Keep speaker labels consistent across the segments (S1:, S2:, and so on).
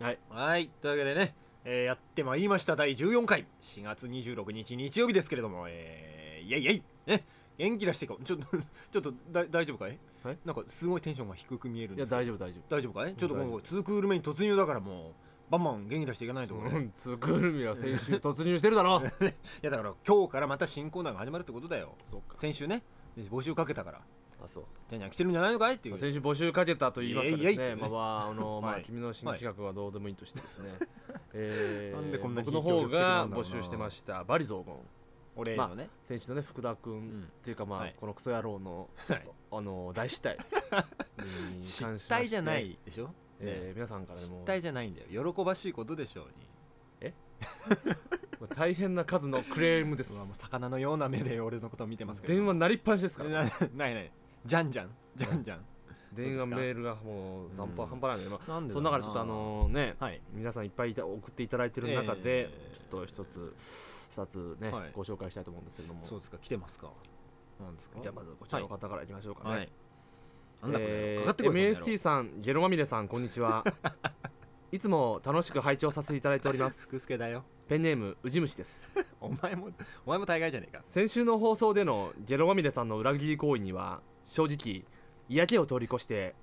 S1: はい
S2: はいというわけでね、えーやってまいりました第14回4月26日日曜日ですけれどもえー、イエイイエイね元気出していこうちょっと ちょっとだ大丈夫かい、
S1: はい
S2: なんかすごいテンションが低く見えるん
S1: いや
S2: ですけど
S1: 大丈夫大丈
S2: 大丈夫かいちょっと
S1: 大丈
S2: 今
S1: 夫
S2: 後2クール目に突入だからもうバンバン元気出していかないと
S1: 夫
S2: 思う、
S1: うんツークールミは先週突入してるだろ
S2: いやだから今日からまた新コーナーが始まるってことだよ
S1: そうか
S2: 先週ね募集かけたから
S1: あそう
S2: じゃんじゃん来てるんじゃないのかいっていう
S1: 先週募集かけたと言いますかです
S2: いえいえい
S1: ね、
S2: え
S1: まあまあ、あの、ま
S2: は
S1: あ、
S2: い
S1: 君の新企画はどうでもいいとしてです ね。え
S2: なんでこんなに
S1: 僕の方が
S2: 非協力的なんだろう
S1: 募
S2: な
S1: 集してました、バリ雑言。
S2: 俺のね、
S1: 先週のね、福田君、
S2: ん
S1: っていうか、まあ、
S2: はい
S1: このクソ野郎の、
S2: はい
S1: あの、大 失態。に
S2: 失
S1: 関しまして
S2: 態じゃな。いでしょ、ね
S1: えー皆さんからで
S2: 失
S1: も、
S2: 態じゃないんだよ喜ばしいことでしょうに
S1: まあ大変な数のクレームです
S2: う。わもう魚のような目で俺のことを見てますけど
S1: 電話なりっぱなしですから。
S2: な ないないじゃんじゃんじゃんじゃん
S1: 電話
S2: そう
S1: メ
S2: ですか
S1: ールがもう、
S2: うん
S1: 半端半端ないので、まあ、
S2: なん
S1: その中でちょっと、あの、ね。
S2: はい
S1: 皆さんいっぱいいた送っていただいてる中で、
S2: ええ
S1: ちょっと一つ二つね、
S2: はい
S1: ご紹介したいと思うんですけども
S2: そうですか来てますかなんですか
S1: じゃあまずこちらの方からいきましょうかね、
S2: はいなんだこれ、
S1: えー
S2: かかってこいこの野郎
S1: MST さんゲロまみれさんこんにち はいつも楽しく拝聴させていただいております
S2: すくすけだよ
S1: ペンネームウジ虫です
S2: お前もお前も大概じゃねえか
S1: 先週の放送でのゲロまみれさんの裏切り行為には正直嫌気を通り越して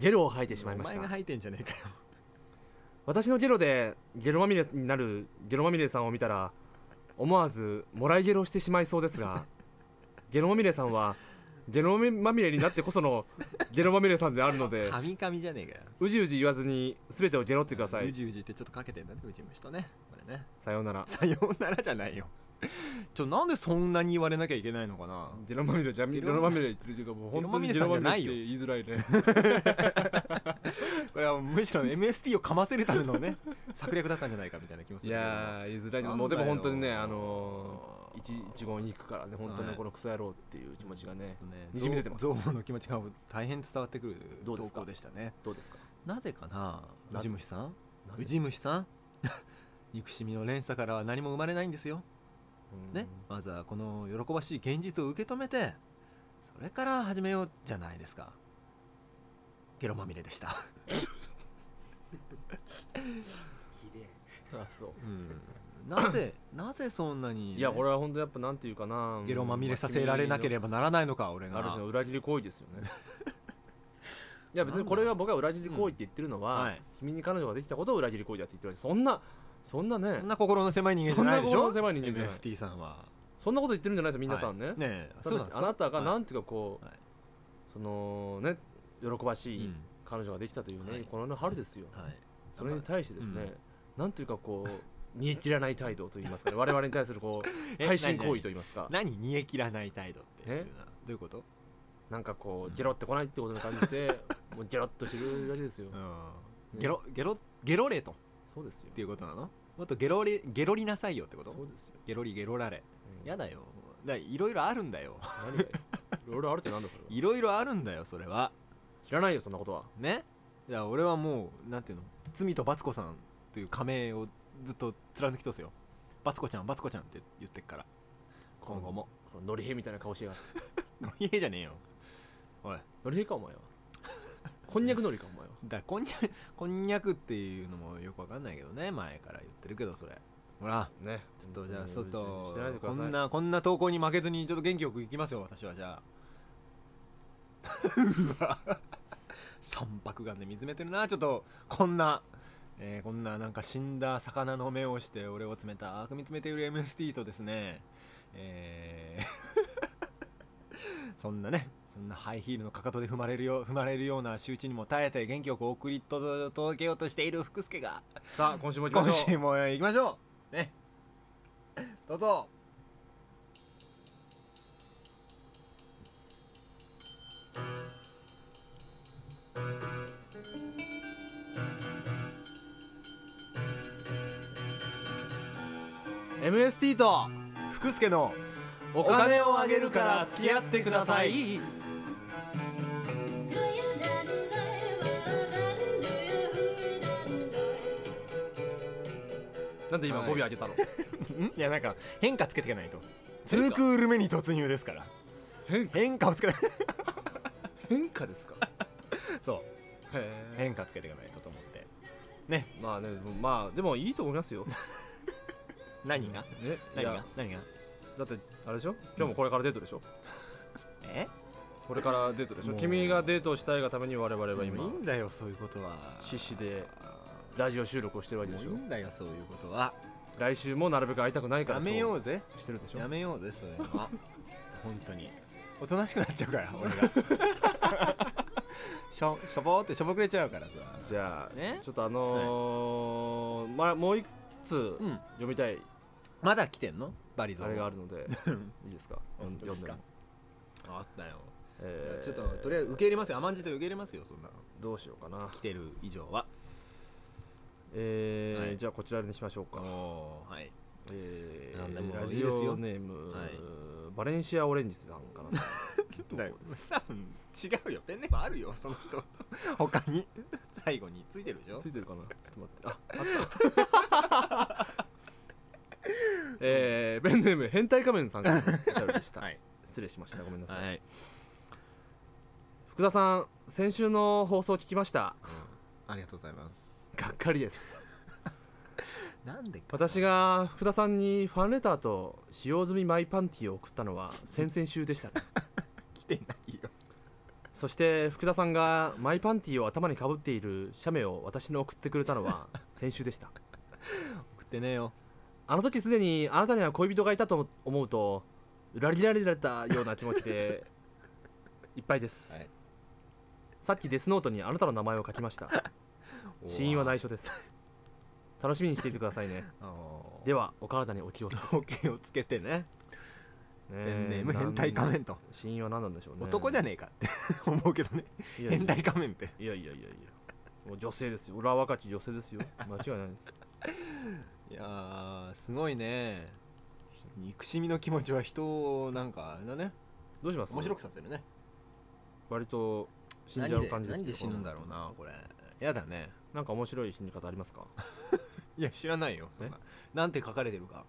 S1: ゲロを吐いてしまいまし
S2: お前が
S1: た
S2: 吐いてんじゃねえかよ
S1: 私のゲロでゲロまみれになるゲロまみれさんを見たら思わずもらいゲロをしてしまいそうです がゲロまみれさんはゲロまみれになってこその ゲロまみれさんであるので
S2: カミカミじゃねえかよ
S1: うじうじ言わずに全てをゲロってくださ
S2: う
S1: い
S2: じうじってちょっとかけてんだねうじ虫とねこれね
S1: さようなら
S2: さようならじゃないよちょなんでそんなに言われなきゃいけないのかな
S1: ゲロまみれじゃゲ
S2: ゲロ
S1: ロまみれっていうかもう本当に
S2: ゲ
S1: ゲ
S2: ロ
S1: ロ
S2: ま
S1: ま
S2: みれさん
S1: みれ
S2: じゃな
S1: っ
S2: い
S1: て
S2: よ
S1: 言いづらいね
S2: これはむしろ MST をかませるためのね策略だったんじゃないかみたいな気もす
S1: い
S2: るけど
S1: やー言いづらいけどもうでも本当にねあのー一一言に行くからね本当にこのクソ野郎っていう気持ちがねにじみ出てます
S2: ゾウゾウの気持ちが大変伝わってくる
S1: ど
S2: 投
S1: うですか
S2: 稿でしたね
S1: どうですか
S2: なぜかな
S1: な
S2: ウ
S1: ぜ
S2: ジ虫さん
S1: なぜ
S2: ウジ虫さん 憎しみの連鎖からは何も生まれないんですよね
S1: うん
S2: まずはこの喜ばしい現実を受け止めてそれから始めようじゃないですかゲロまみれでした、
S1: あそう
S2: うん、 なぜなぜそんなにね、
S1: いやこれは本当やっぱなんていうかな
S2: ゲロまみれさせられなけれ
S1: ば
S2: ばならないのか俺が
S1: ある種の裏切り行為ですよ ねいや別にこれが僕が裏切り行為って言ってるのは、
S2: はい
S1: 君に彼女ができたことを裏切り行為だって言ってるわけそんなそんなね
S2: そんな心の狭い人間じゃないでし
S1: そん
S2: ょ
S1: な心の狭い人間じゃない
S2: MST さんは
S1: そんなこと言ってるんじゃないですよ皆さんね、
S2: ねえ
S1: ただ
S2: そうなんですか
S1: あなたがな
S2: は
S1: んていうかこう、
S2: はい
S1: そのね喜ばし
S2: い
S1: い彼女ができたというね、
S2: はい
S1: この春ですよ、
S2: うんはい
S1: それに対してですね、
S2: うん
S1: なんていうかこう煮え切らない態度といいますかね我々に対するこう
S2: え
S1: 配信行為といいますか
S2: 何何煮え切らない態度っていうのは
S1: え
S2: どういうこと
S1: なんかこ
S2: うん
S1: うゲロってこないってことに感じ てもうゲロっとしてるわけですよ、
S2: うんゲロゲロゲロれと
S1: そうですよ
S2: っていうことなのもっとゲロれゲロりなさいよってこ
S1: そ
S2: と
S1: うですよ、
S2: ゲロりゲロられ
S1: うん
S2: やだよだからいろいろあるんだよ
S1: 何がよいろいろあるってなんだそれは
S2: いろいろあるんだよそれは
S1: 知らないよそんなことは
S2: ねいや俺はもうなんていうの罪とバツコさんという仮名をずっと貫き通すよバツコちゃんバツコちゃんって言ってっから今後も
S1: このノリヘみたいな顔しやがって
S2: ノリヘじゃねえよおい
S1: ノリヘかお前はこんにゃくのりかお前は
S2: だこんにゃくこんにゃくっていうのもよくわかんないけどね前から言ってるけどそれほら
S1: ね
S2: ちょっとじゃあ
S1: 本当に
S2: 外
S1: してないでくだ
S2: こ
S1: さい
S2: んなこんな投稿に負けずにちょっと元気よくいきますよ私はじゃあうわ三白眼で見つめてるなちょっとこんな、えーこんななんか死んだ魚の目をして俺を冷たく見つめている MST とですねえー そんなねそんなハイヒールのかかとで踏まれるよ踏まれるような仕打ちにも耐えて元気よく送り届けようとしている福助が
S1: さあ今週も行きま
S2: 今
S1: しょ
S2: 週
S1: う
S2: も行きましょうねどうぞ
S1: 今週 MST と
S2: 福助の
S1: お
S2: お金をあげるから付き合ってください
S1: なんで今
S2: はい
S1: 語尾上げ たの、
S2: いやなんか変化つけていかないと2クール目に突入ですから
S1: 変
S2: 変化をつ けない
S1: 変化ですか
S2: そう
S1: へえ
S2: 変化つけていかないとと思ってね
S1: まあねまあでもいいと思います よ
S2: 何が
S1: ねい
S2: 何
S1: や
S2: が何が
S1: だってあれでしょ今日もこれからデートでしょ、
S2: え
S1: これからデートでしょ
S2: もう
S1: 君がデートをしたいがために我々は
S2: もういい
S1: 今
S2: んだよそういうことは
S1: 獅子で
S2: あ
S1: ラジオ収録をしてるわ
S2: ー
S1: けで
S2: もうい
S1: し
S2: い
S1: ょ
S2: んだよそういうことは
S1: 来週もなるべく会いたくないから
S2: やめよ
S1: う
S2: うぜ
S1: してるでしょ
S2: やめようぜそういうのは 本当におとなしくなっちゃうから俺が しょしょぼーってしょぼくれちゃうからさ
S1: じゃあ、
S2: ね
S1: ちょっとあのーまあもう一通
S2: うん
S1: 読みたい
S2: まだ来てんのバリゾー
S1: あれがあるので いいですか読ん
S2: 本当で
S1: 読
S2: す
S1: んで
S2: か
S1: も、
S2: あったよ
S1: えー
S2: ちょっととりあえず受け入れますよ甘んじて受け入れますよそんなの
S1: どうしようかな
S2: 来てる以上は
S1: えー
S2: はい
S1: じゃあこちらにしましょうか
S2: おーはい
S1: えー
S2: なんでも
S1: ラ
S2: いい
S1: ジ
S2: ですよ
S1: オネーム、
S2: はい
S1: バレンシアオレンジさんかな
S2: だよ多分違うよペンネームあるよその 人他に最後についてるでしょ
S1: ついてるかなちょっと待ってあ あったえー、ペンネーム変態仮面さん からのお便りでした、
S2: はい
S1: 失礼しましたごめんなさい、
S2: はい、
S1: 福田さん先週の放送聞きました
S2: ありがとうございます
S1: がっかりです
S2: なんで
S1: 私が福田さんにファンレターと使用済みマイパンティを送ったのは先々週でしたね
S2: 来てないよ
S1: そして福田さんがマイパンティを頭にかぶっている写メを私に送ってくれたのは先週でした
S2: 送ってねえよ
S1: あの時すでにあなたには恋人がいたと思うと裏切られたような気持ち でいっぱいです、
S2: はい
S1: さっきデスノートにあなたの名前を書きました死因は内
S2: 緒
S1: 緒です楽しみにしていてくださいねではお体にお気をつけ
S2: お気をつけてね
S1: ね
S2: ペンネーム変態仮面と、
S1: 死因は何なんでしょうね
S2: 男じゃねえか って思うけどね
S1: いやいや
S2: 変態仮面って
S1: いやいやいやいやもう女性ですよ裏若き女性ですよ間違いないです
S2: いやーすごいね憎しみの気持ちは人をなんかあれだね
S1: どうします
S2: 面白くさせるね
S1: 割と死んじゃう感じですけど
S2: 何で死ぬんだろうなこれやだね
S1: なんか面白い死に方ありますか
S2: いや知らないよそんななんて書かれてるか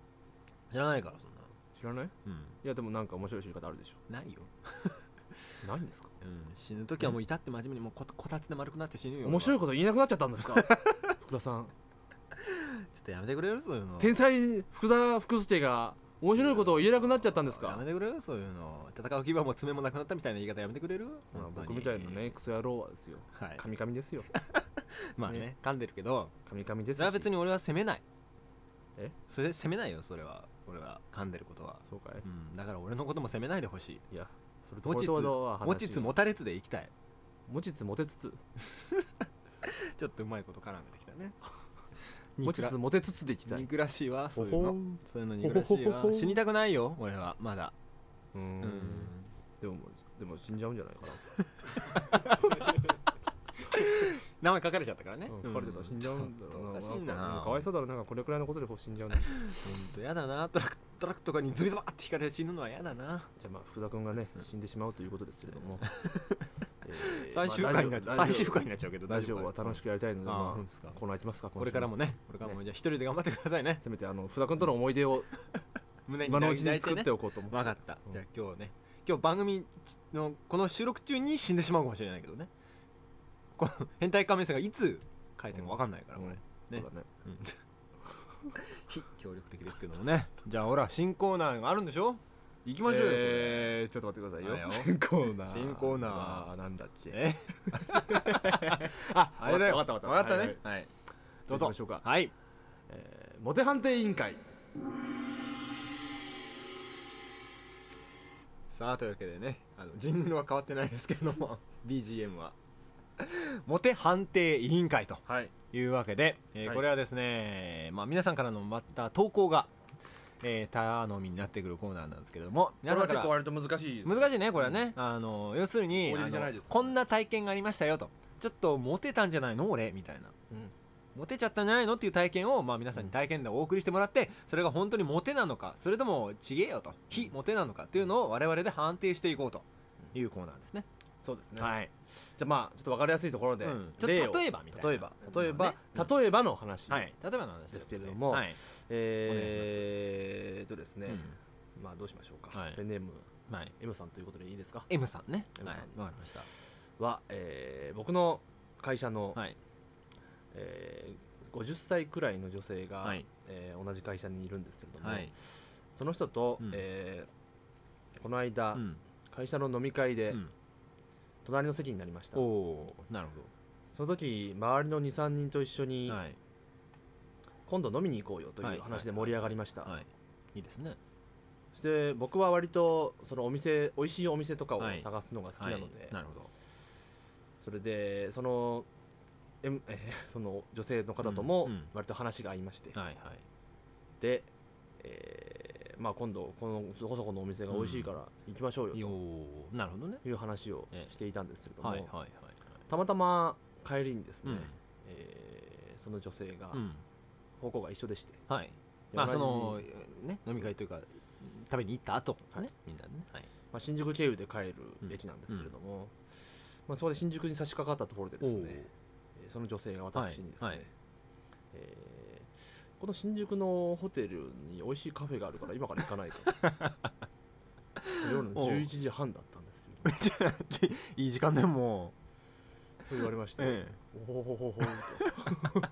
S2: 知らないからそ
S1: 知らない
S2: んなうん
S1: いやでもなんか面白い死に方あるでし
S2: ないよ、
S1: ょないんですか
S2: うん、死ぬ時はもう至って真面目にもうここたつで丸くなって死ぬよ
S1: 面白い
S2: 俺は
S1: こと言えなくなっちゃったん ですか福田さん
S2: ちょっとやめてくれるそういうの
S1: 天才福田福助が面白いことを言えなくなっちゃったんです
S2: や
S1: か
S2: めてくれるそういうの戦う気はもう爪もなくなったみたいな言い方やめてくれる
S1: まあ
S2: 本当に
S1: 僕みたいなねクソ野郎はですよ
S2: はい
S1: カミカミですよ
S2: まあね噛んでるけど
S1: カミカミで
S2: そ
S1: す
S2: れは
S1: し
S2: 別に俺は責めない
S1: え
S2: それ責めないよそれは俺は噛んでることは
S1: そうかい
S2: うんだから俺のことも責めないでほしい
S1: いやそれとこ
S2: 持
S1: れ
S2: ちつ
S1: とは話
S2: 持ちつ持たれつでいきたい
S1: 持ちつ持てつつ
S2: ちょっとうまいこと絡めてきたね
S1: 持ちつ持てつつでいきたい
S2: 憎らしいわそういう
S1: ほほ
S2: の
S1: ん
S2: そういうの憎らしいわ
S1: ほほほほ
S2: 死にたくないよ俺はまだ
S1: うー
S2: うん
S1: でもでも死んじゃうんじゃないかな
S2: 名前書かれちゃったからね
S1: うん書かれてたら死んじゃうんだろうな
S2: ちょっとおかしい
S1: んか
S2: な
S1: うんかわいそうだろうなんかこれくらいのことでこう死んじゃうんだじゃ
S2: 本当やだなトラックトラックとかにズビズバーって引かれて死ぬのはやだな
S1: あまあ福田君がね死んでしまうということですけれども えー
S2: 最終回になっちゃう最終回に
S1: ま
S2: なっちゃうけど
S1: あラジオラジオは楽し
S2: く
S1: くやりたいので
S2: あー
S1: ま
S2: そうですか
S1: あコーナーいきますか
S2: これからもねこれからもじゃあ一人で頑張ってくださいね
S1: せめてあの福田君との思い出を
S2: 胸に
S1: 今のうち
S2: 抱
S1: に
S2: いてね
S1: 作っておこう と思
S2: わかったじゃあ今日ね今日番組のこの収録中に死んでしまうかもしれないけどねこの変態仮面さんがいつ書いてるかわかんないから
S1: うん
S2: これ
S1: そう
S2: ね
S1: だね
S2: うん非協力的ですけどもねじゃあほら新コーナーがあるんでしょ行きましょうよ、
S1: えーちょっと待ってくださいよ
S2: はいよ
S1: 新コーナー
S2: 新コーナー
S1: あなんだっけ
S2: えああれだよ
S1: わかったわか
S2: わ
S1: った
S2: か
S1: わかった
S2: ねはい、ど
S1: 行
S2: う
S1: き
S2: ぞ
S1: ましょうか
S2: はい
S1: えーモテ判定委員会
S2: さあというわけでねあのジングルは変わってないですけれども BGM はモテ判定委員会と
S1: はい
S2: いうわけで、えー
S1: はい
S2: これはですね、まあ、皆さんからのまた投稿が、えー、頼みになってくるコーナーなんですけれども
S1: これ
S2: 皆さ
S1: は
S2: んか
S1: 結
S2: ら
S1: 構割と難しいです
S2: 難しいねこれはね、あの要する
S1: 大
S2: に
S1: 喜利
S2: あの
S1: じゃないです
S2: こんな体験がありましたよとちょっとモテたんじゃないの俺みたいな
S1: うん
S2: モテちゃったんじゃないのっていう体験を、まあ、皆さんに体験でお送りしてもらってそれが本当にモテなのかそれともちげえよと非モテなのかっていうのを我々で判定していこうというコーナーですね、
S1: そうですね
S2: はい、
S1: じゃあまあちょっと分かりやすいところで、
S2: うんちょ
S1: 例
S2: っ
S1: を
S2: と例えばみたいな
S1: 例えば例えば、
S2: うん
S1: 例えばの話、
S2: はい、例えばの話
S1: ですけれども
S2: はい
S1: えー、とですね、
S2: う
S1: まあどうしましょうか、
S2: はい
S1: ペンネーム
S2: んはい、
S1: M さんということでいいですか
S2: M さんね
S1: M さん
S2: はいわかりました
S1: は、えー僕の会社の、
S2: はい
S1: えー50歳くらいの女性が、
S2: はい
S1: えー同じ会社にいるんですけれども、
S2: はい
S1: その人と、
S2: うん
S1: えーこの間、
S2: うん
S1: 会社の飲み会で
S2: うん
S1: 隣の席になりました、
S2: おおーなる
S1: その時周りの23人と一緒
S2: ほ
S1: に、
S2: どはい
S1: 今度飲みに行こうよという話で盛り上がりました、
S2: はいいいですね
S1: そして僕は割とそのお店美味しいお店とかを
S2: はい
S1: 探すのが好きなので、
S2: はいなるほど
S1: それでその,、M え ーその女性の方とも
S2: うんうん
S1: 割と話が合いまして、
S2: はいはい
S1: で、えーまあ、今度このそこそこのお店が美味しいから行きましょうよ
S2: よーなるほどね
S1: という話を
S2: ええ
S1: していたんですけれども、
S2: はいはいはいはい
S1: たまたま帰りにです
S2: う
S1: ね、
S2: ん
S1: えーその女性が
S2: うん
S1: 方向が一緒でして、
S2: はいまあ
S1: 同
S2: そ
S1: じ
S2: のね飲み会というか食べに行った後
S1: は
S2: ね
S1: い
S2: みんなでねはい
S1: まあ、新宿経由で帰る駅なんですけれども、まあ、そこで新宿に差し掛かったところでです
S2: おー
S1: ねえーその女性が私にですね、
S2: はいはい
S1: えーこの新宿のホテルに美味しいカフェがあるから今から行かないか 夜の11時半だったんですよ
S2: じゃあじ いい時間でも
S1: と言われまして、
S2: え
S1: おほほほほー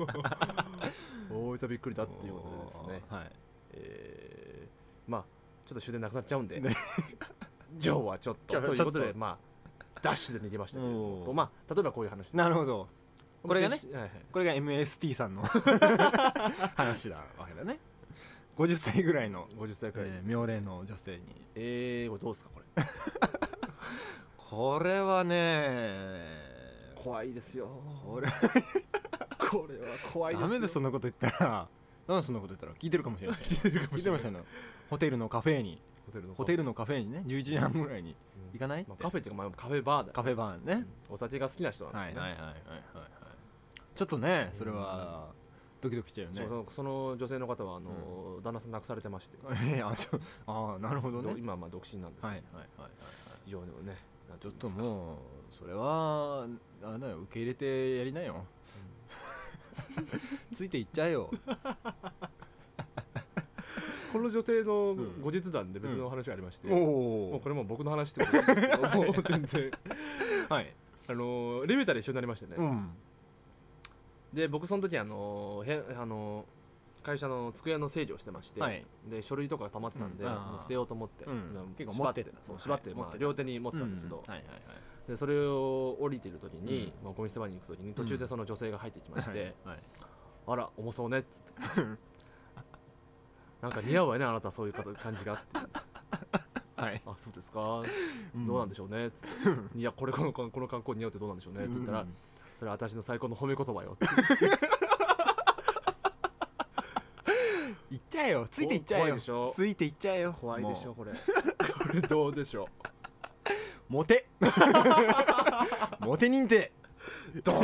S1: とおーいとびっくりだっていうことでですね、
S2: はい
S1: えーまあちょっと終電なくなっちゃうんで、
S2: ね
S1: 今日はちょっとと
S2: 今日は
S1: いう
S2: ちょ
S1: こ
S2: っと
S1: とでまあダッシュで逃げましたけれど
S2: お
S1: も
S2: ー
S1: とまあ例えばこういう話
S2: なるほどこれがね、
S1: はいはい、
S2: これが MST さ んの話だわけだね50歳ぐらいの、
S1: 50歳くらい、
S2: えー妙齢の女性に
S1: えー、これどうですかこれ
S2: これはね
S1: 怖いですよ
S2: これ
S1: これは怖いです
S2: ダ
S1: よ
S2: メですそんなこと言ったらなんでそんなこと言ったら聞いてるかもしれない聞いてましたよねホテルのカフェに
S1: ホテルの
S2: ホテルのカフェにね11時半ぐらいに
S1: うん
S2: 行かない、
S1: まあ、カフェっていうか、まあ、カフェバーだ
S2: カフェバー
S1: ェ
S2: ね、
S1: お酒が好きな人なん
S2: はい
S1: ですね、
S2: はいはいはいはいはいちょっとねそれはドキドキしちゃうよね
S1: そうそのその女性の方はあの、旦那さん亡くされてまして、
S2: えーあちょあーなるほどね
S1: ど今はまあ独身なんですけ
S2: は
S1: ど、
S2: いはいはいはいはい
S1: 非常にもねなん
S2: ち
S1: て
S2: ょ
S1: い
S2: っ
S1: うん
S2: と
S1: ですか
S2: もうそれはあれだよ受け入れてやりなよ ついていっちゃえよ
S1: この女性の
S2: うん
S1: 後日談で別の話がありまして、もう
S2: お
S1: これもう僕の話ってことなんですけどもう全然
S2: はい
S1: あのーエレベーターで一緒になりましてね、
S2: うん
S1: で僕その時あのーへあのー会社の机の整理をしてまして、
S2: はい
S1: で書類とか溜まってたんで、
S2: うんあー
S1: もう捨てようと思って、
S2: うん
S1: なんか
S2: 結構持って
S1: 縛
S2: た
S1: そう
S2: はい
S1: 縛って、
S2: 持
S1: ま
S2: っ
S1: あ、
S2: てた
S1: 両手に持ってた
S2: うん
S1: ですけど、
S2: はいはいはい
S1: でそれを降りてる時に、まあ、ゴミ捨て場に行く時に途中でその女性が入ってきまして、
S2: はい
S1: あら重そうねっつ ってなんか似合うわよねあなたそういう方感じがあって
S2: はい
S1: あそうですかどうなんで
S2: し
S1: しょうねっつって、 いやこれこのこの観光似合うってどうなんでしょうねって言ったら、それは私の最高の褒め言葉よ って
S2: いっちゃえよついていっちゃえ
S1: 怖い
S2: よ
S1: でしょ
S2: ついていっちゃえよ
S1: 怖いでしょ
S2: も
S1: これこれどうで しょ
S2: うモテ モテ認定
S1: うドー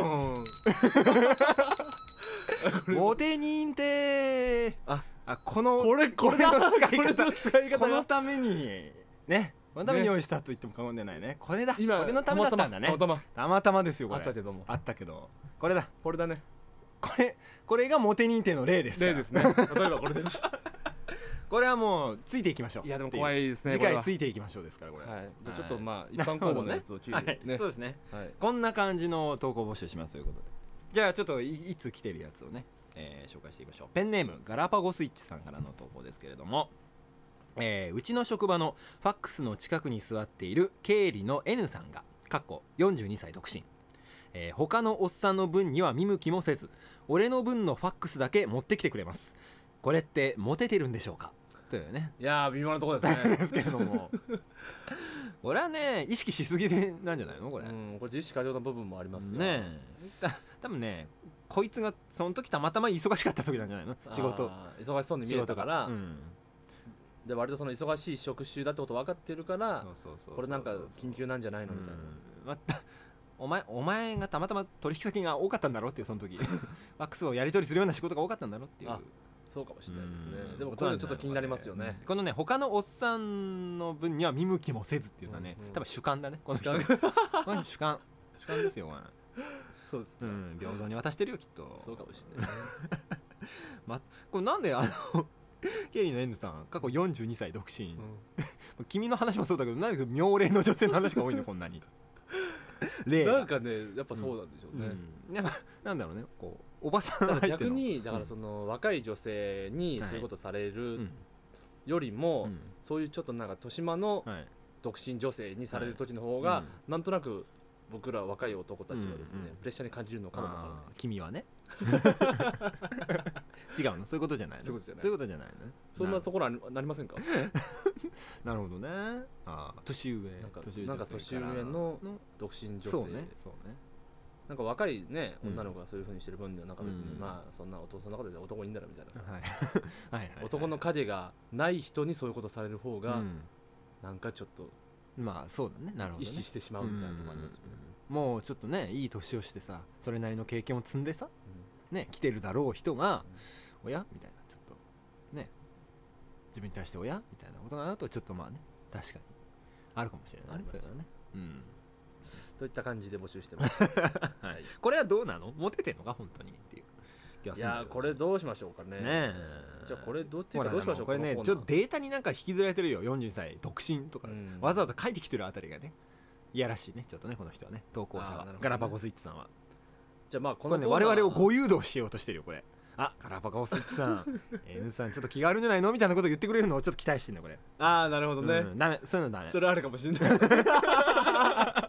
S1: ン
S2: モテ認定
S1: あ
S2: あこの
S1: これこれだ
S2: これの使い
S1: こ
S2: 方
S1: れの使い方
S2: この
S1: が
S2: ためにねこのために
S1: ね
S2: 用意したと言っても過言ではないねこれだこれのためだったんだね
S1: たまたま
S2: たまたまですよ
S1: あ
S2: こ
S1: っ
S2: れ
S1: たけども
S2: あったけどこれだ
S1: これだね
S2: これこれがモテ認定の例ですから
S1: 例ですね例えばこ れです
S2: これはもうついていきましょう
S1: い
S2: い
S1: やでも怖
S2: い
S1: いですね
S2: 次
S1: これ
S2: 回
S1: は
S2: ついていきましょうですからこれ
S1: はい、じゃあ
S2: はい
S1: ちょっとまあ一般公募のやつを聞いて
S2: は
S1: ね
S2: いそうですね
S1: はい
S2: こんな感じの投稿募集しますということでじゃあちょっといいつ来てるやつをね、えー紹介していきましょうペンネームガラパゴスイッチさんからの投稿ですけれども、えーうちの職場のファックスの近くに座っている経理の N さんがかっこ42歳独身、えー他のおっさんの分には見向きもせず俺の分のファックスだけ持ってきてくれますこれってモテてるんでしょうかというね
S1: いやー微妙なところですね
S2: ですけれども これはね意識しすぎでなんじゃないのこれ、
S1: うんこれ実施過剰な部分もありますよ
S2: ねえた多分ねこいつがその時たまたま忙しかった時なんじゃないの
S1: あー
S2: 仕事
S1: 忙しそうに見
S2: 仕
S1: えた
S2: 事
S1: から、
S2: うん、
S1: で割とその忙しい職種だってこと分かってるから
S2: そうそうそうそう
S1: これなんか緊急なんじゃないのみたいな、
S2: うんまたお前お前がたまたま取引先が多かったんだろうっていうその 時ワックスをやり取りするような仕事が多かったんだろうっていう
S1: あそうかもしれないですね、
S2: うん
S1: でもこれちょっと気になりますよね
S2: うんこのね他のおっさんの分には見向きもせずっていうのはね、
S1: うんうん
S2: 多分主観だねこの人
S1: 主
S2: この人主観主観ですよお前
S1: そうです
S2: うん平等に渡してるよきっと
S1: そうかもしれないね
S2: これなんであのケリーの N さん過去42 歳独身、君の話もそうだけどなんで妙齢の女性の話が多いのこんなに例が
S3: なんかねやっぱそうなんでしょうね、
S2: うん、やっぱなんだろうねこうおばさん
S3: だ
S2: 入っ
S3: か
S2: て
S3: ら
S2: の
S3: 逆にだからその若い女性にそういうことされ
S2: う
S3: る
S2: ん
S3: よりも、
S2: うん
S3: そういうちょっとなんか豊島の
S2: はい
S3: 独身女性にされる時の方が、
S2: うん
S3: なんとなく僕ら若い男たちはですね、
S2: うんうん
S3: プレッシャーに感じるのかもわからない
S2: あー君 はね違うのそういうことじゃないの
S3: そういうことじゃない
S2: そういうことじゃないのね
S3: そんなところありなりませんか
S2: なるほどねあー年上
S3: なんか
S2: 上
S3: なんか
S2: 女性ら
S3: 年上の独身女性
S2: そうねそうね
S3: なんか若いね
S2: うん
S3: 女の子がそういうふうにしてる分にはなんか別に、
S2: うん
S3: まあそんな男そんなことで男いいんだろみたいなさ、
S2: はいはいはいはい
S3: 男の影がない人にそういうことされる方が、
S2: うん
S3: なんかちょっと
S2: まあそうだねなるほ
S3: 意
S2: ど
S3: 識
S2: ね
S3: してしまうみたいなとこありますよね、
S2: うんもうちょっとねいい年をしてさそれなりの経験を積んでさね来てるだろう人が「おや?」みたいなちょっとね自分に対して「おや?」みたいなことがあるとちょっとまあね確かにあるかもしれない
S3: ありますよ
S2: それはねうん
S3: うんといった感じで募集してます、はい、
S2: これはどうなのモテてんのか本当にっていう気が
S3: い
S2: するんだ
S3: や
S2: けどね
S3: ーこれどうしましょうかね
S2: ねえ
S3: じゃあこれどうってい
S2: ほ
S3: うからどうしましょう
S2: これね
S3: のコー
S2: ち
S3: ナ
S2: ょ
S3: ー
S2: っとデータになんか引きずられてるよ40歳独身とか、
S3: うん
S2: わざわざ書いてきてるあたりがねいやらしいねちょっとねこの人はね投稿者
S3: あーな
S2: は、
S3: るほどね
S2: ガラパゴスイッチさんは
S3: じゃあまあこ
S2: こ
S3: の
S2: れね
S3: コー
S2: 我
S3: ナー
S2: 々をご誘導しようとしてるよこれあガラパゴスイッチさ ん N さんちょっと気があるんじゃないのみたいなこと言ってくれるのをちょっと期待してんのこれ
S3: ああなるほどね、
S2: うんダメ そういうのダメ
S3: それあるかもしれない
S2: そういうのダ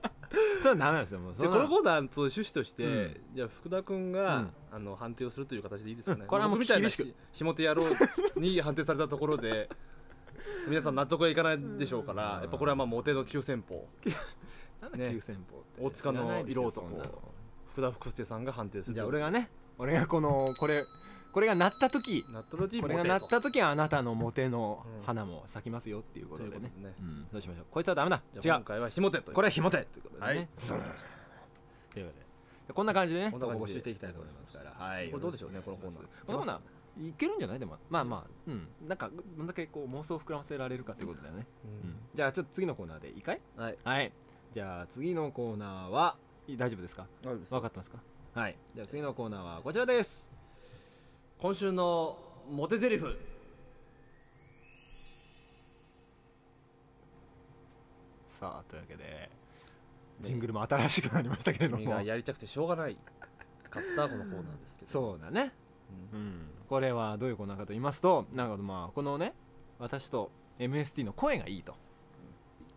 S2: メなんですよもう
S3: じゃあこ
S2: そんな
S3: の
S2: の
S3: コーナーの趣旨として、
S2: うん
S3: じゃあ福田君
S2: う
S3: が
S2: ん、
S3: あの判定をするという形でいいですかね、
S2: うんこれはもう
S3: 僕みたいな
S2: 厳しく
S3: ひひもて野郎に判定されたところで 皆さん納得はいかないでしょうから、
S2: うん
S3: やっぱこれはまあモテの急先鋒
S2: なんだ
S3: ね
S2: 急先鋒って
S3: 大塚
S2: 知らない
S3: の
S2: ですよ
S3: 色男
S2: そんなの
S3: 福田福助さんが判定する
S2: じゃあ俺がね俺がこのこれこれが鳴った時
S3: なった時に
S2: こ
S3: モ
S2: れ
S3: テ
S2: が
S3: と
S2: 鳴った時はあなたのモテの
S3: うん
S2: 花も咲きますよっていうことで
S3: という
S2: ね
S3: ことでね
S2: うんどうしましょうこいつはダメだ
S3: じ
S2: 違
S3: ゃあ今
S2: う
S3: 回はひもてという
S2: これはひもてということでね
S3: はい
S2: そうなんですということでじゃあこんな感じでね
S3: こんな感じで
S2: 募集していきたいと思いますからはい
S3: これどうでしょうねこのコーナー
S2: このコーナーいけるんじゃないでもまあまあうんなんかどんだけこう妄想を膨らませられるかということだよねうんじゃあちょっと次のコーナーでいいかい
S3: うんはい
S2: はいじゃあ次のコーナーはい大丈夫ですか分かってますかはいじゃあ次のコーナーはこちらです
S1: 今週のモテゼリフ
S2: さあというわけでジングルも新しくなりましたけれど
S3: 君
S2: も
S3: がやりたくてしょうがないかったこのコーナーですけど
S2: そうだね、
S3: う
S2: うんん、これはどういうコーナーかと言いますとなんかまあこのね私と MST の声がいいと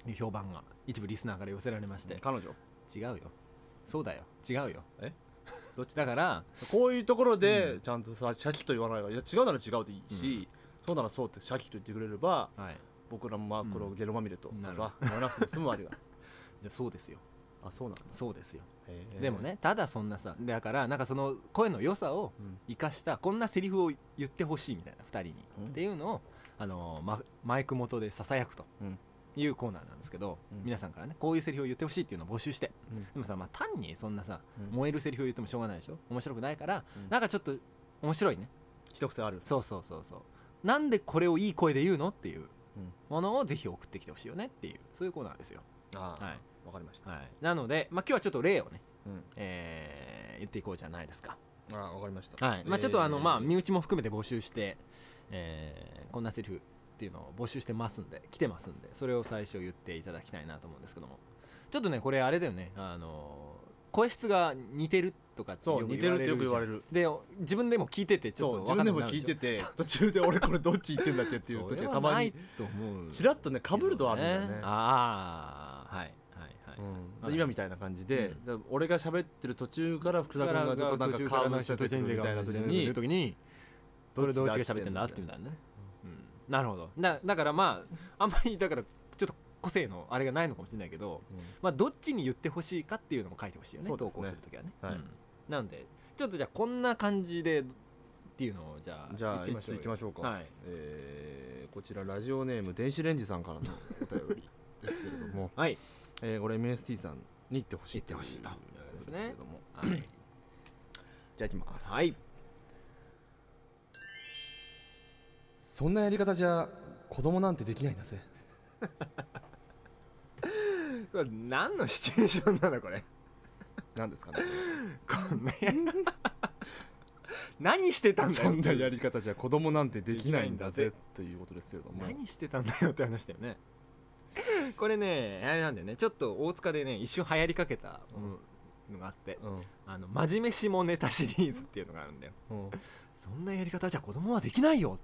S2: いう評判が一部リスナーから寄せられまして、
S1: 彼女
S2: 違うよそうだよ違うよ
S3: えどっち
S2: だから
S1: こういうところ
S2: う
S1: で
S2: ん
S1: ちゃんとさシャキと言わないがいや違うなら違うでいいし、そうならそうってシャキと言ってくれれば
S2: はい
S1: 僕らもまあこれをゲロまみれと
S2: うんな
S1: か
S2: るほ
S1: さ言わなくても済む わけだ
S2: じゃあそうですよ
S1: あそうなんだ
S2: そうですよ、
S1: へえ
S2: でもねただそんなさだからなんかその声の良さを
S1: うん
S2: 生かしたこんなセリフを言ってほしいみたいな2人に、
S1: うん
S2: っていうのをあのママイク元でささやくと
S1: うん
S2: いうコーナーなんですけど、
S1: うん
S2: 皆さんからねこういうセリフを言ってほしいっていうのを募集して、
S1: うん
S2: でもさ、まあ、単にそんなさ、
S1: うん
S2: 燃えるセリフを言ってもしょうがないでしょ面白くないから、
S1: うん
S2: なんかちょっと面白いね
S1: 一癖ある
S2: そうそうそうそうなんでこれをいい声で言うのっていう
S1: うん
S2: ものをぜひ送ってきてほしいよねっていうそういうコーナーですよ、
S1: ああ、
S2: はい
S1: わかりました、
S2: はい、なので、まあ、今日はちょっと例をね、
S1: うん
S2: えー言っていこうじゃないですか
S1: ああわかりました
S2: はいまあ、ちょっとあの、
S1: えー
S2: まあ、身内も含めて募集して、えーこんなセリフっていうのを募集してますんで来てますんでそれを最初言っていただきたいなと思うんですけどもちょっとねこれあれだよねあの声質が似てるとかって
S1: そう
S2: よく
S1: 似てるってよく言われ
S2: る
S1: る
S2: じゃんで自分でも聞いててち
S1: そ
S2: ょ
S1: う
S2: っと
S1: 自分で
S2: 分かんなく
S1: も
S2: なる
S1: 聞い
S2: でしょ
S1: てて途中で俺これどっち行ってんだっけっていう時はたまに
S2: それはないと思う
S1: ちらっとね被るとはあるんだよね
S2: ああはいはいはい、
S1: うん、今みたいな感じで、
S2: うん
S1: だから俺が喋ってる途中から福田君がちょっとなんかカーブしててくるみたいな時に
S2: 時にどれどっちが喋ってんだ
S1: ど
S2: っ
S1: っちだって
S2: てみたいなね、うん、なるほどだだからまああんまりだからちょっと個性のあれがないのかもしれないけど、まあ、どっちに言ってほしいかっていうのも書いてほしいよね
S1: そうです
S2: 投
S1: ね
S2: 稿するときはね、
S1: はい
S2: うんなんでちょっとじゃあこんな感じでっていうのをじゃあ
S1: じゃあ
S2: 言
S1: い
S2: って
S1: つ行きま
S2: し
S1: しょう
S2: ょ
S1: か、
S2: うよはい、、
S1: えーこちらラジオネーム電子レンジさんからのお便りですけれども
S2: はい
S1: えー、これ MST さんに行ってほしい
S2: 行ってほしいと
S1: うことですけれども
S2: はい、
S1: じゃあ行きます
S2: はい、
S1: そんなやり方じゃ子供なんてできないんだぜ
S2: これ何のシチュエーションなのこれ
S1: なんですかね
S2: こんな や何してたんだよ
S1: そんなやり方じゃ子供なんてできないんだ
S2: で
S1: ぜ
S2: き
S1: ということですけれども
S2: 何してたんだよって話だよねこれねあれなんだよねちょっと大塚でね一瞬流行りかけたうんのがあって
S1: うん
S2: あの真面目下ネタシリーズっていうのがあるんだよ
S1: うん
S2: そんなやり方じゃ子供はできないよ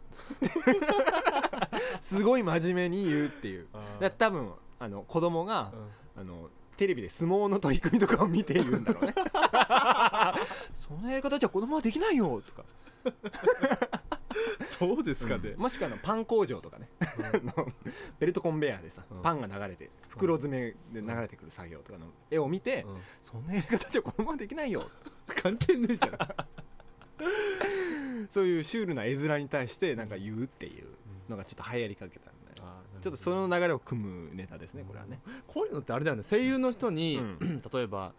S2: すごい真面目に言うっていうだから多分あの子供が、あのテレビで相撲の取り組みとかを見ているんだろうねそんなやり方じゃ子供はできないよとか
S3: そうですかね
S2: もしくはあのパン工場とかねあの ベルトコンベヤーでさ、
S1: うん
S2: パンが流れて袋詰めで流れてくる作業とかの絵を見て、
S1: うん
S2: そんなやり方じゃ子供はできないよ 関係ねえじゃん そういうシュールな絵面に対してなんか言うっていうのがちょっと流行りかけたんだよ、
S1: あーなるほど
S2: ちょっとその流れを組むネタですねこれはね、
S1: こういうのってあれだよね声優の人に、
S2: う
S1: 例えば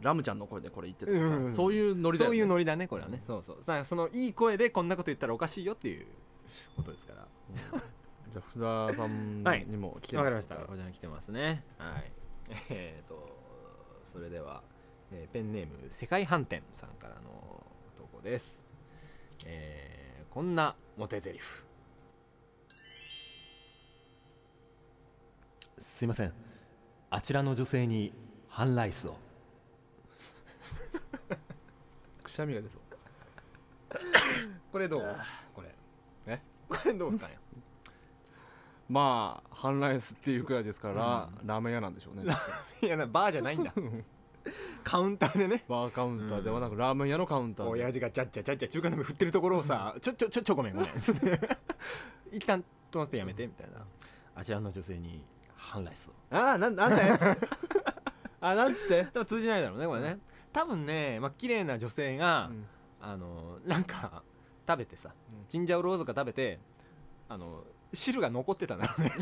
S1: ラムちゃんの声でこれ言ってとかさ、
S2: うん
S1: そういうノリだ
S2: そ
S1: よ
S2: う
S1: ね
S2: いうノリだねこれはね、そうそうだからそのいい声でこんなこと言ったらおかしいよっていうことですから
S1: じゃあ福田さん
S2: はい
S1: にも来て
S2: わ
S1: ま
S2: か
S1: す
S2: りました。こちらに来てますね。はい。 えっ、と、それでは、えーペンネーム、世界飯店さんからの投稿です。えーこんなモテゼリフ。すいません。あちらの女性に半ライスを。
S1: くしゃみが出そう
S2: これどうこれ。えこれどうかね。
S1: まあ半ライスっていうくらいですから、
S2: う
S1: ラーメン屋なんでしょうね
S2: いや、なバーじゃないんだ。 カウンターでね。
S1: バーカウンターではなく、ラーメン屋のカウンターで
S2: 親父がちゃっちゃちゃっちゃ中華鍋振ってるところをさ「ちょちょちょちょごめんごめん」つって一旦止まってやめてみたいなあちらの女性に反来そう
S1: ああなんなんだよあなんつって、
S2: 多分通じないだろうねこれね多分ねまあ綺麗な女性が、
S1: うん
S2: あのなんか食べてさチンジャオロースか食べてあの汁が残ってたんだろうね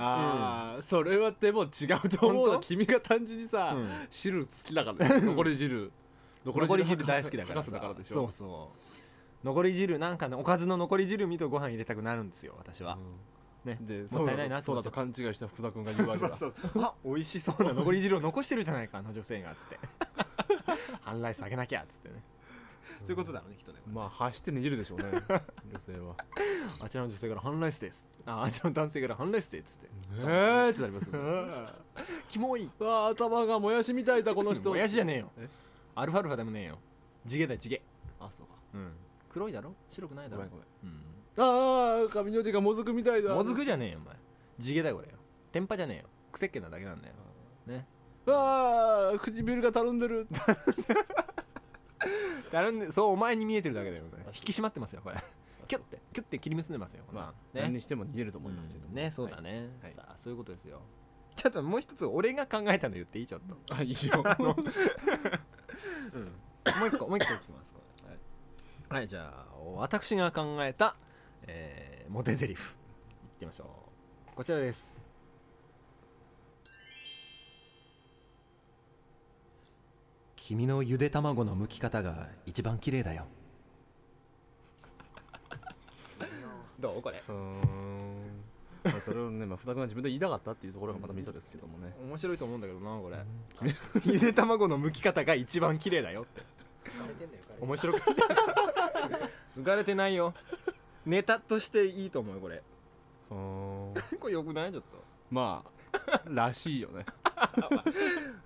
S1: ああ、それはでも違うと思う
S2: 本
S1: な
S2: 当
S1: 君が単純にさ、
S2: うん
S1: 汁好きだからね残り汁
S2: 残り汁大好きだから
S1: 博士だからでしょ
S2: そうそう残り汁なんかねおかずの残り汁見とご飯入れたくなるんですよ私は、
S1: うん
S2: ね
S1: で
S2: もったいないなって
S1: そう
S2: 思っ
S1: だ
S2: ちゃ
S1: と
S2: う
S1: 勘違いした福田君が言うわけ
S2: そ
S1: だ
S2: うそうそうあ美味しそうな残り汁を残してるじゃないかあの女性がっつ って半ライスあげなきゃっつってねそういうことだろうねきっとね
S1: まあ走って逃げるで しょうね女性は
S2: あちらの女性から半ライスですああちらの男性から半ライスですっつって
S1: ええってなりますよね
S2: キモいう
S1: わあ頭がもやしみたいだこの人
S2: もやしじゃねえよ
S1: え
S2: アルファルファでもねえよ地毛だよ地毛
S1: あそうか
S2: うん黒いだろ白くないだ
S1: ごめ
S2: ろ
S1: んごめん
S2: うん
S1: ああ髪の毛がもずくみたいだ
S2: もずくじゃねえよお前地毛だよこれよ天パじゃねえよくせっけなだけなんだよね
S1: ああ唇がたるんでる
S2: だるんでそうお前に見えてるだけだよこれ引き締まってますよこれキュッてキュッて切り結んでますよこんな
S1: まあ、
S2: ね
S1: 何にしても逃げると思いますけど、
S2: うんねそうだね、
S1: はい
S2: さあそういうことですよちょっともう一つ俺が考えたの言っていいちょ っと、
S1: はい、あいいよ は
S2: もう一個もう一個いきますこれはい、はい、じゃあ私が考えた、えーモテゼリフいってみましょうこちらです君のゆで卵の剥き方が一番綺麗だよ どうこれ
S1: うーんまあそれをね、まあ、福田君が自分で言いたかったっていうところがまたミソですけどもね
S2: 面白いと思うんだけどなこれゆで卵の剥き方が一番綺麗だよって面白く 浮かれてないよネタとしていいと思うよこれ
S1: うーん
S2: これよくないちょっと
S1: まあらしい よね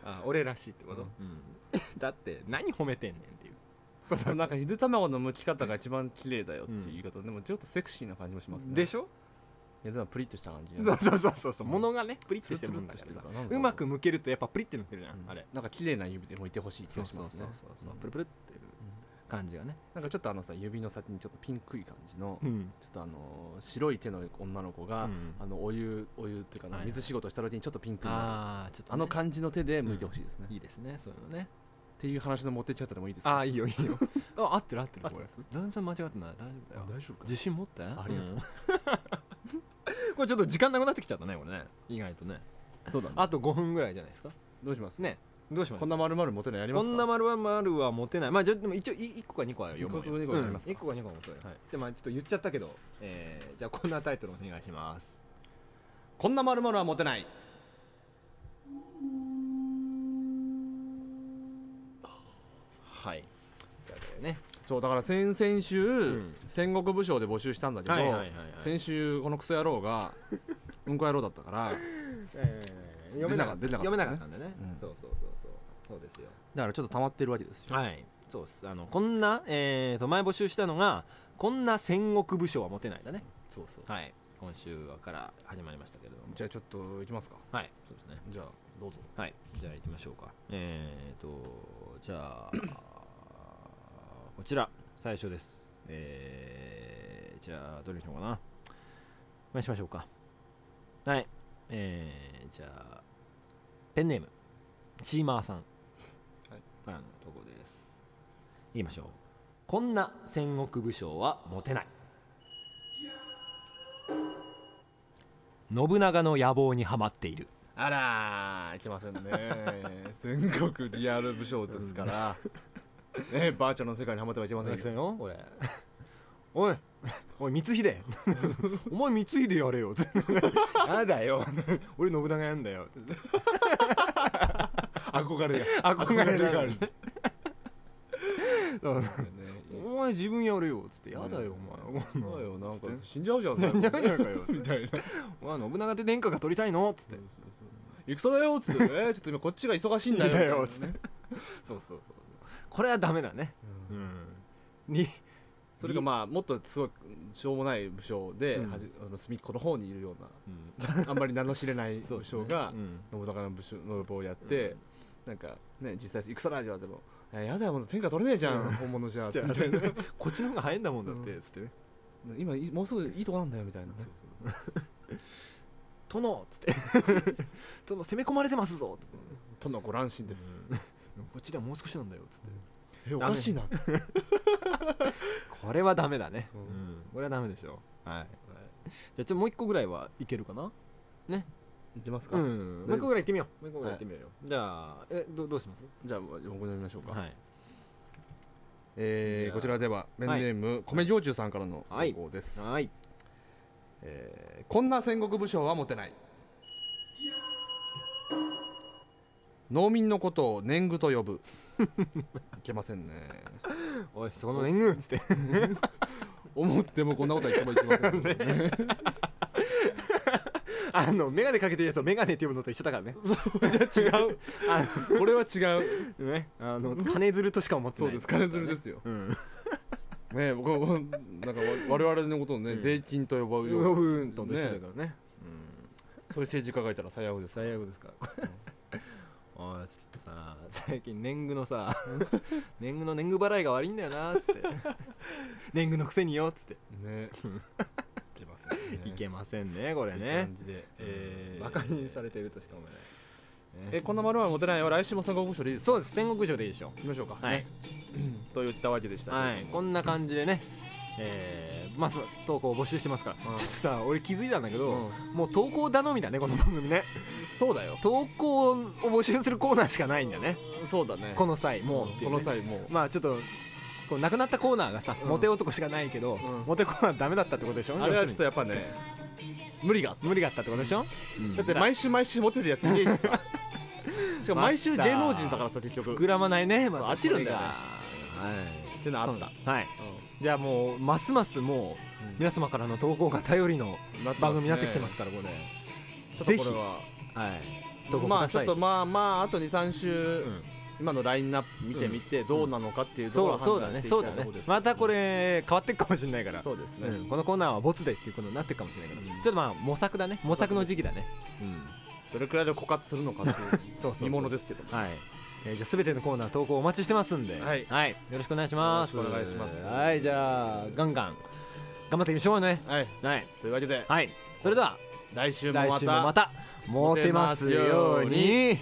S2: あ俺らしいってこと、だって何褒めてんねんっていう
S1: でもなんかゆで卵の剥き方が一番綺麗だよっていう言い方、でもちょっとセクシーな感じもしますね
S2: で
S1: ょ
S2: しょ
S1: いやでもプリッとした感じ
S2: そうそうそうそうそう
S1: うん
S2: 物がねプリッ
S1: ツ
S2: と
S1: ル
S2: して
S1: ツ
S2: る
S1: ル
S2: も
S1: っ
S2: ん
S1: と
S2: だか
S1: して
S2: ら
S1: るか
S2: さ
S1: らなんか
S2: うまく剥けるとやっぱプリッて抜けるじゃん、
S1: うん
S2: あれ
S1: なんか綺麗な指で剥いてほしい気がしますね
S2: そう
S1: うん
S2: プルプルっていう感じがね
S1: なんかちょっとあのさ指の先にちょっとピンクい感じの、
S2: うん
S1: ちょっとあのー白い手の女の子が、
S2: うん
S1: あのお湯お湯っていうかな、
S2: はいはい
S1: 水仕事した時にちょっとピンクになるあ,、
S2: ああちょっとね、
S1: の感じの手で剥いてほしいですね、
S2: い
S1: っ
S2: いですねそういうのね
S1: ていう話の持ってき方でもいいです
S2: あ
S1: か
S2: あいいよいいよ あ合ってる合ってるこ
S1: 合
S2: れ
S1: ってま
S2: 全然間違ってない大丈夫だよ
S1: 大丈夫
S2: 自信持ってあ
S1: ありがとう
S2: これちょっと時間なくなってきちゃったねこれね意外とね
S1: そうだね
S2: あと5分ぐらいじゃないですか
S1: どうします
S2: ねどうしまし
S1: こ
S2: ょ
S1: んな
S2: う
S1: 丸々持てないやりま
S2: こ
S1: すか
S2: んな丸は丸は持てないまあじゃでも一応1個か2個は読む
S1: 一個か二個は読みますか
S2: 1個か2個は持てない、
S1: はい
S2: でまあちょっと言っちゃったけど、えーじゃあこんなタイトルお願いします
S1: こんな丸々は持てない
S2: はいというわけでね、
S1: そうだから先々週、
S2: ん
S1: 戦国武将で募集したんだけど、
S2: はいはいはいはい
S1: 先週このクソ野郎 がうんこ野郎だったから
S2: えー
S1: 出なかった
S2: 読めなかっ
S1: 出なかっ
S2: た
S1: た
S2: んだね、
S1: うん
S2: そうそうそうそうそうですよ
S1: だからちょっと溜まってるわけですよ
S2: はいそうですあのこんな、えー、と前募集したのがこんな戦国武将は持てないだね
S1: そうそう
S2: はい今週から始まりましたけれども
S1: じゃあちょっといきますか
S2: はいそうですね
S1: じゃあどうぞ
S2: はいじゃあ行きましょうかえーとじゃあこちら最初ですえー、じゃあどれにしようかなお願いしましょうかはいえー、じゃあペンネームチーマーさんからの投稿です言いきましょうこんな戦国武将は持てない信長の野望にはまっている
S1: あらーいけませんね 戦国リアル武将ですから、ねバーチャルの世界にはまってはいけませ んよ
S2: よこれ おいおい光秀 お前光秀やれよ やだよ 俺信長やんだ よ
S1: 憧れや
S2: 憧れるからねそう
S1: ね
S2: お前自分やれよつってやだよお 前
S1: そうよなんか死んじゃうじゃん
S2: 死んじゃうじゃん かよ
S1: みたいな
S2: お前信長って殿下が取りたいのつって
S1: 戦だよっつって、え ー、ちょっと今こっちが忙しいんだよ
S2: だよ
S1: みたいなね
S2: そうそうそうこれはダメだねうんに
S1: それがまあもっとすごいしょうもない武将で、
S2: うん
S1: はじあの隅っこの方にいるよう
S2: うん
S1: なあんまり名の知れない
S2: そ
S1: 武
S2: うです
S1: 将
S2: ね
S1: が
S2: うん
S1: 信長の武将の棒をやって、なんかね実際戦ないじゃんでも「えーやだよもう天下取れねえじゃん、本物じゃ」
S2: じゃあ
S1: みたいな
S2: こっちの方が早いんだもんだってつってね
S1: 今いもうすぐいいとこなんだよみたいなね、
S2: 殿つって 殿攻め込まれてますぞつって
S1: 殿ご乱心です、
S2: こっちではもう少しなんだよつって
S1: えおかしいなっつって
S2: これはダメだね
S1: うん
S2: これはダメでしょはいじゃあちょもう一個ぐらいはいけるかな
S1: いきますか、
S2: うんもう一個ぐらい行ってみようもう一個ぐらい行ってみようよじゃあえどどうします
S1: じゃあ僕飲みましょうか、
S2: い
S1: え
S2: じ
S1: ー
S2: ゃあ
S1: こちらではペンネーム、米焼酎さんからの
S2: はい
S1: 投稿です、
S2: はい
S1: えーこんな戦国武将は持てない農民のことを年貢と 呼ぶいけませんね
S2: おいそこの年貢つって
S1: 思ってもこんなことは一回も言ってませんけどね
S2: あの眼鏡かけてるやつを眼鏡って呼ぶのと一緒だから ね違 うあ
S1: これは違う
S2: のねあの金づるとしか思って
S1: そ
S2: な
S1: う
S2: い
S1: です金づるですよ、
S2: うん
S1: ね、僕はなんか我々のことをね、
S2: うん
S1: 税金と呼ばうような
S2: 呼ぶんと一緒だからね
S1: そういう政治家がいたら最悪です
S2: 最悪ですか おいちょっとさ最近年貢のさ 年貢の年貢払いが悪いんだよなっつって 年貢のくせによっつって
S1: ねいけませんね
S2: いけませんねこれ
S1: いい
S2: ね
S1: 感じで、えー
S2: バカにされてるとしか思えない
S1: え
S2: ね
S1: こんな丸は持てないよ来週も戦国武将でいいですか
S2: そうです戦国城でいいでしょ
S1: 行きましょうか、
S2: はい
S1: ね、と言ったわけでした、
S2: はい、こんな感じでね、えー、まあそ投稿を募集してますから、
S1: うん
S2: ちょっとさ俺気づいたんだけど、
S1: う
S2: もう投稿頼みだねこの番組ね
S1: そうだよ
S2: 投稿を募集するコーナーしかないんだね
S1: そうだね
S2: この際もうってい
S1: こ
S2: う
S1: の
S2: ね、
S1: 際もう
S2: まあちょっとこうなくなったコーナーがさ、
S1: うん
S2: モテ男しかないけど、
S1: うん
S2: モテコーナーダメだったってことでしょ
S1: あれはちょっと
S2: 要
S1: やっぱね無理があっ
S2: するに無理があったってことでしょ、
S1: た
S2: だ
S1: だ
S2: っ
S1: ってて
S2: 毎
S1: 毎週毎週モテるやついねえし さしかも毎週芸能人だからさ結局
S2: 膨らまないね、また
S1: 飽きるんだよね
S2: これがはい
S1: ってのあった
S2: そうはいじゃあもうますますもう、
S1: うん
S2: 皆様からの投稿が頼りの
S1: なってますね
S2: 番組になってきてますからこれ、
S1: ちょっとこれは
S2: はい投稿く
S1: まあ
S2: だ
S1: ちょ
S2: さ
S1: っ
S2: い
S1: とまあまああと23週、
S2: うん
S1: 今のラインナップ見てみてどうなのかっていうところ
S2: そ
S1: を
S2: うそうだ
S1: 判断して
S2: ね
S1: い
S2: そ
S1: き
S2: う
S1: た
S2: だ
S1: いと
S2: ね
S1: ころです
S2: またこれ変わっていくかもしれないから
S1: そうですね、
S2: うんこのコーナーはボツでっていうことになっていくかもしれないから、
S1: うん
S2: ちょっとまあ模索だね模索の時期だね、うん、
S1: どれくらいで枯渇するのかっていう
S2: そうそうそう
S1: 見ものですけども
S2: はい、えー、じゃあ全てのコーナー投稿お待ちしてますんで、
S1: はい
S2: よろしくお願いします
S1: よろしくお願いします
S2: はいじゃあガンガン頑張っていきましょうね
S1: はい
S2: はい、
S1: というわけで
S2: はい、それでは
S1: 来週も
S2: 来
S1: ま
S2: 週もま
S1: た
S2: たモテますよう
S1: モテ
S2: に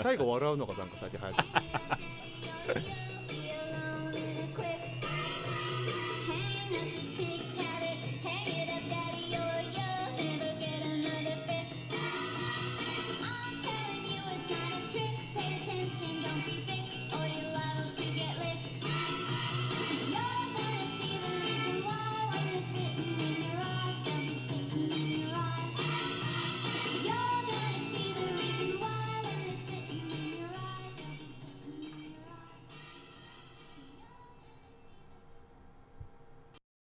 S1: 最後笑うのがなんか最近流行ってる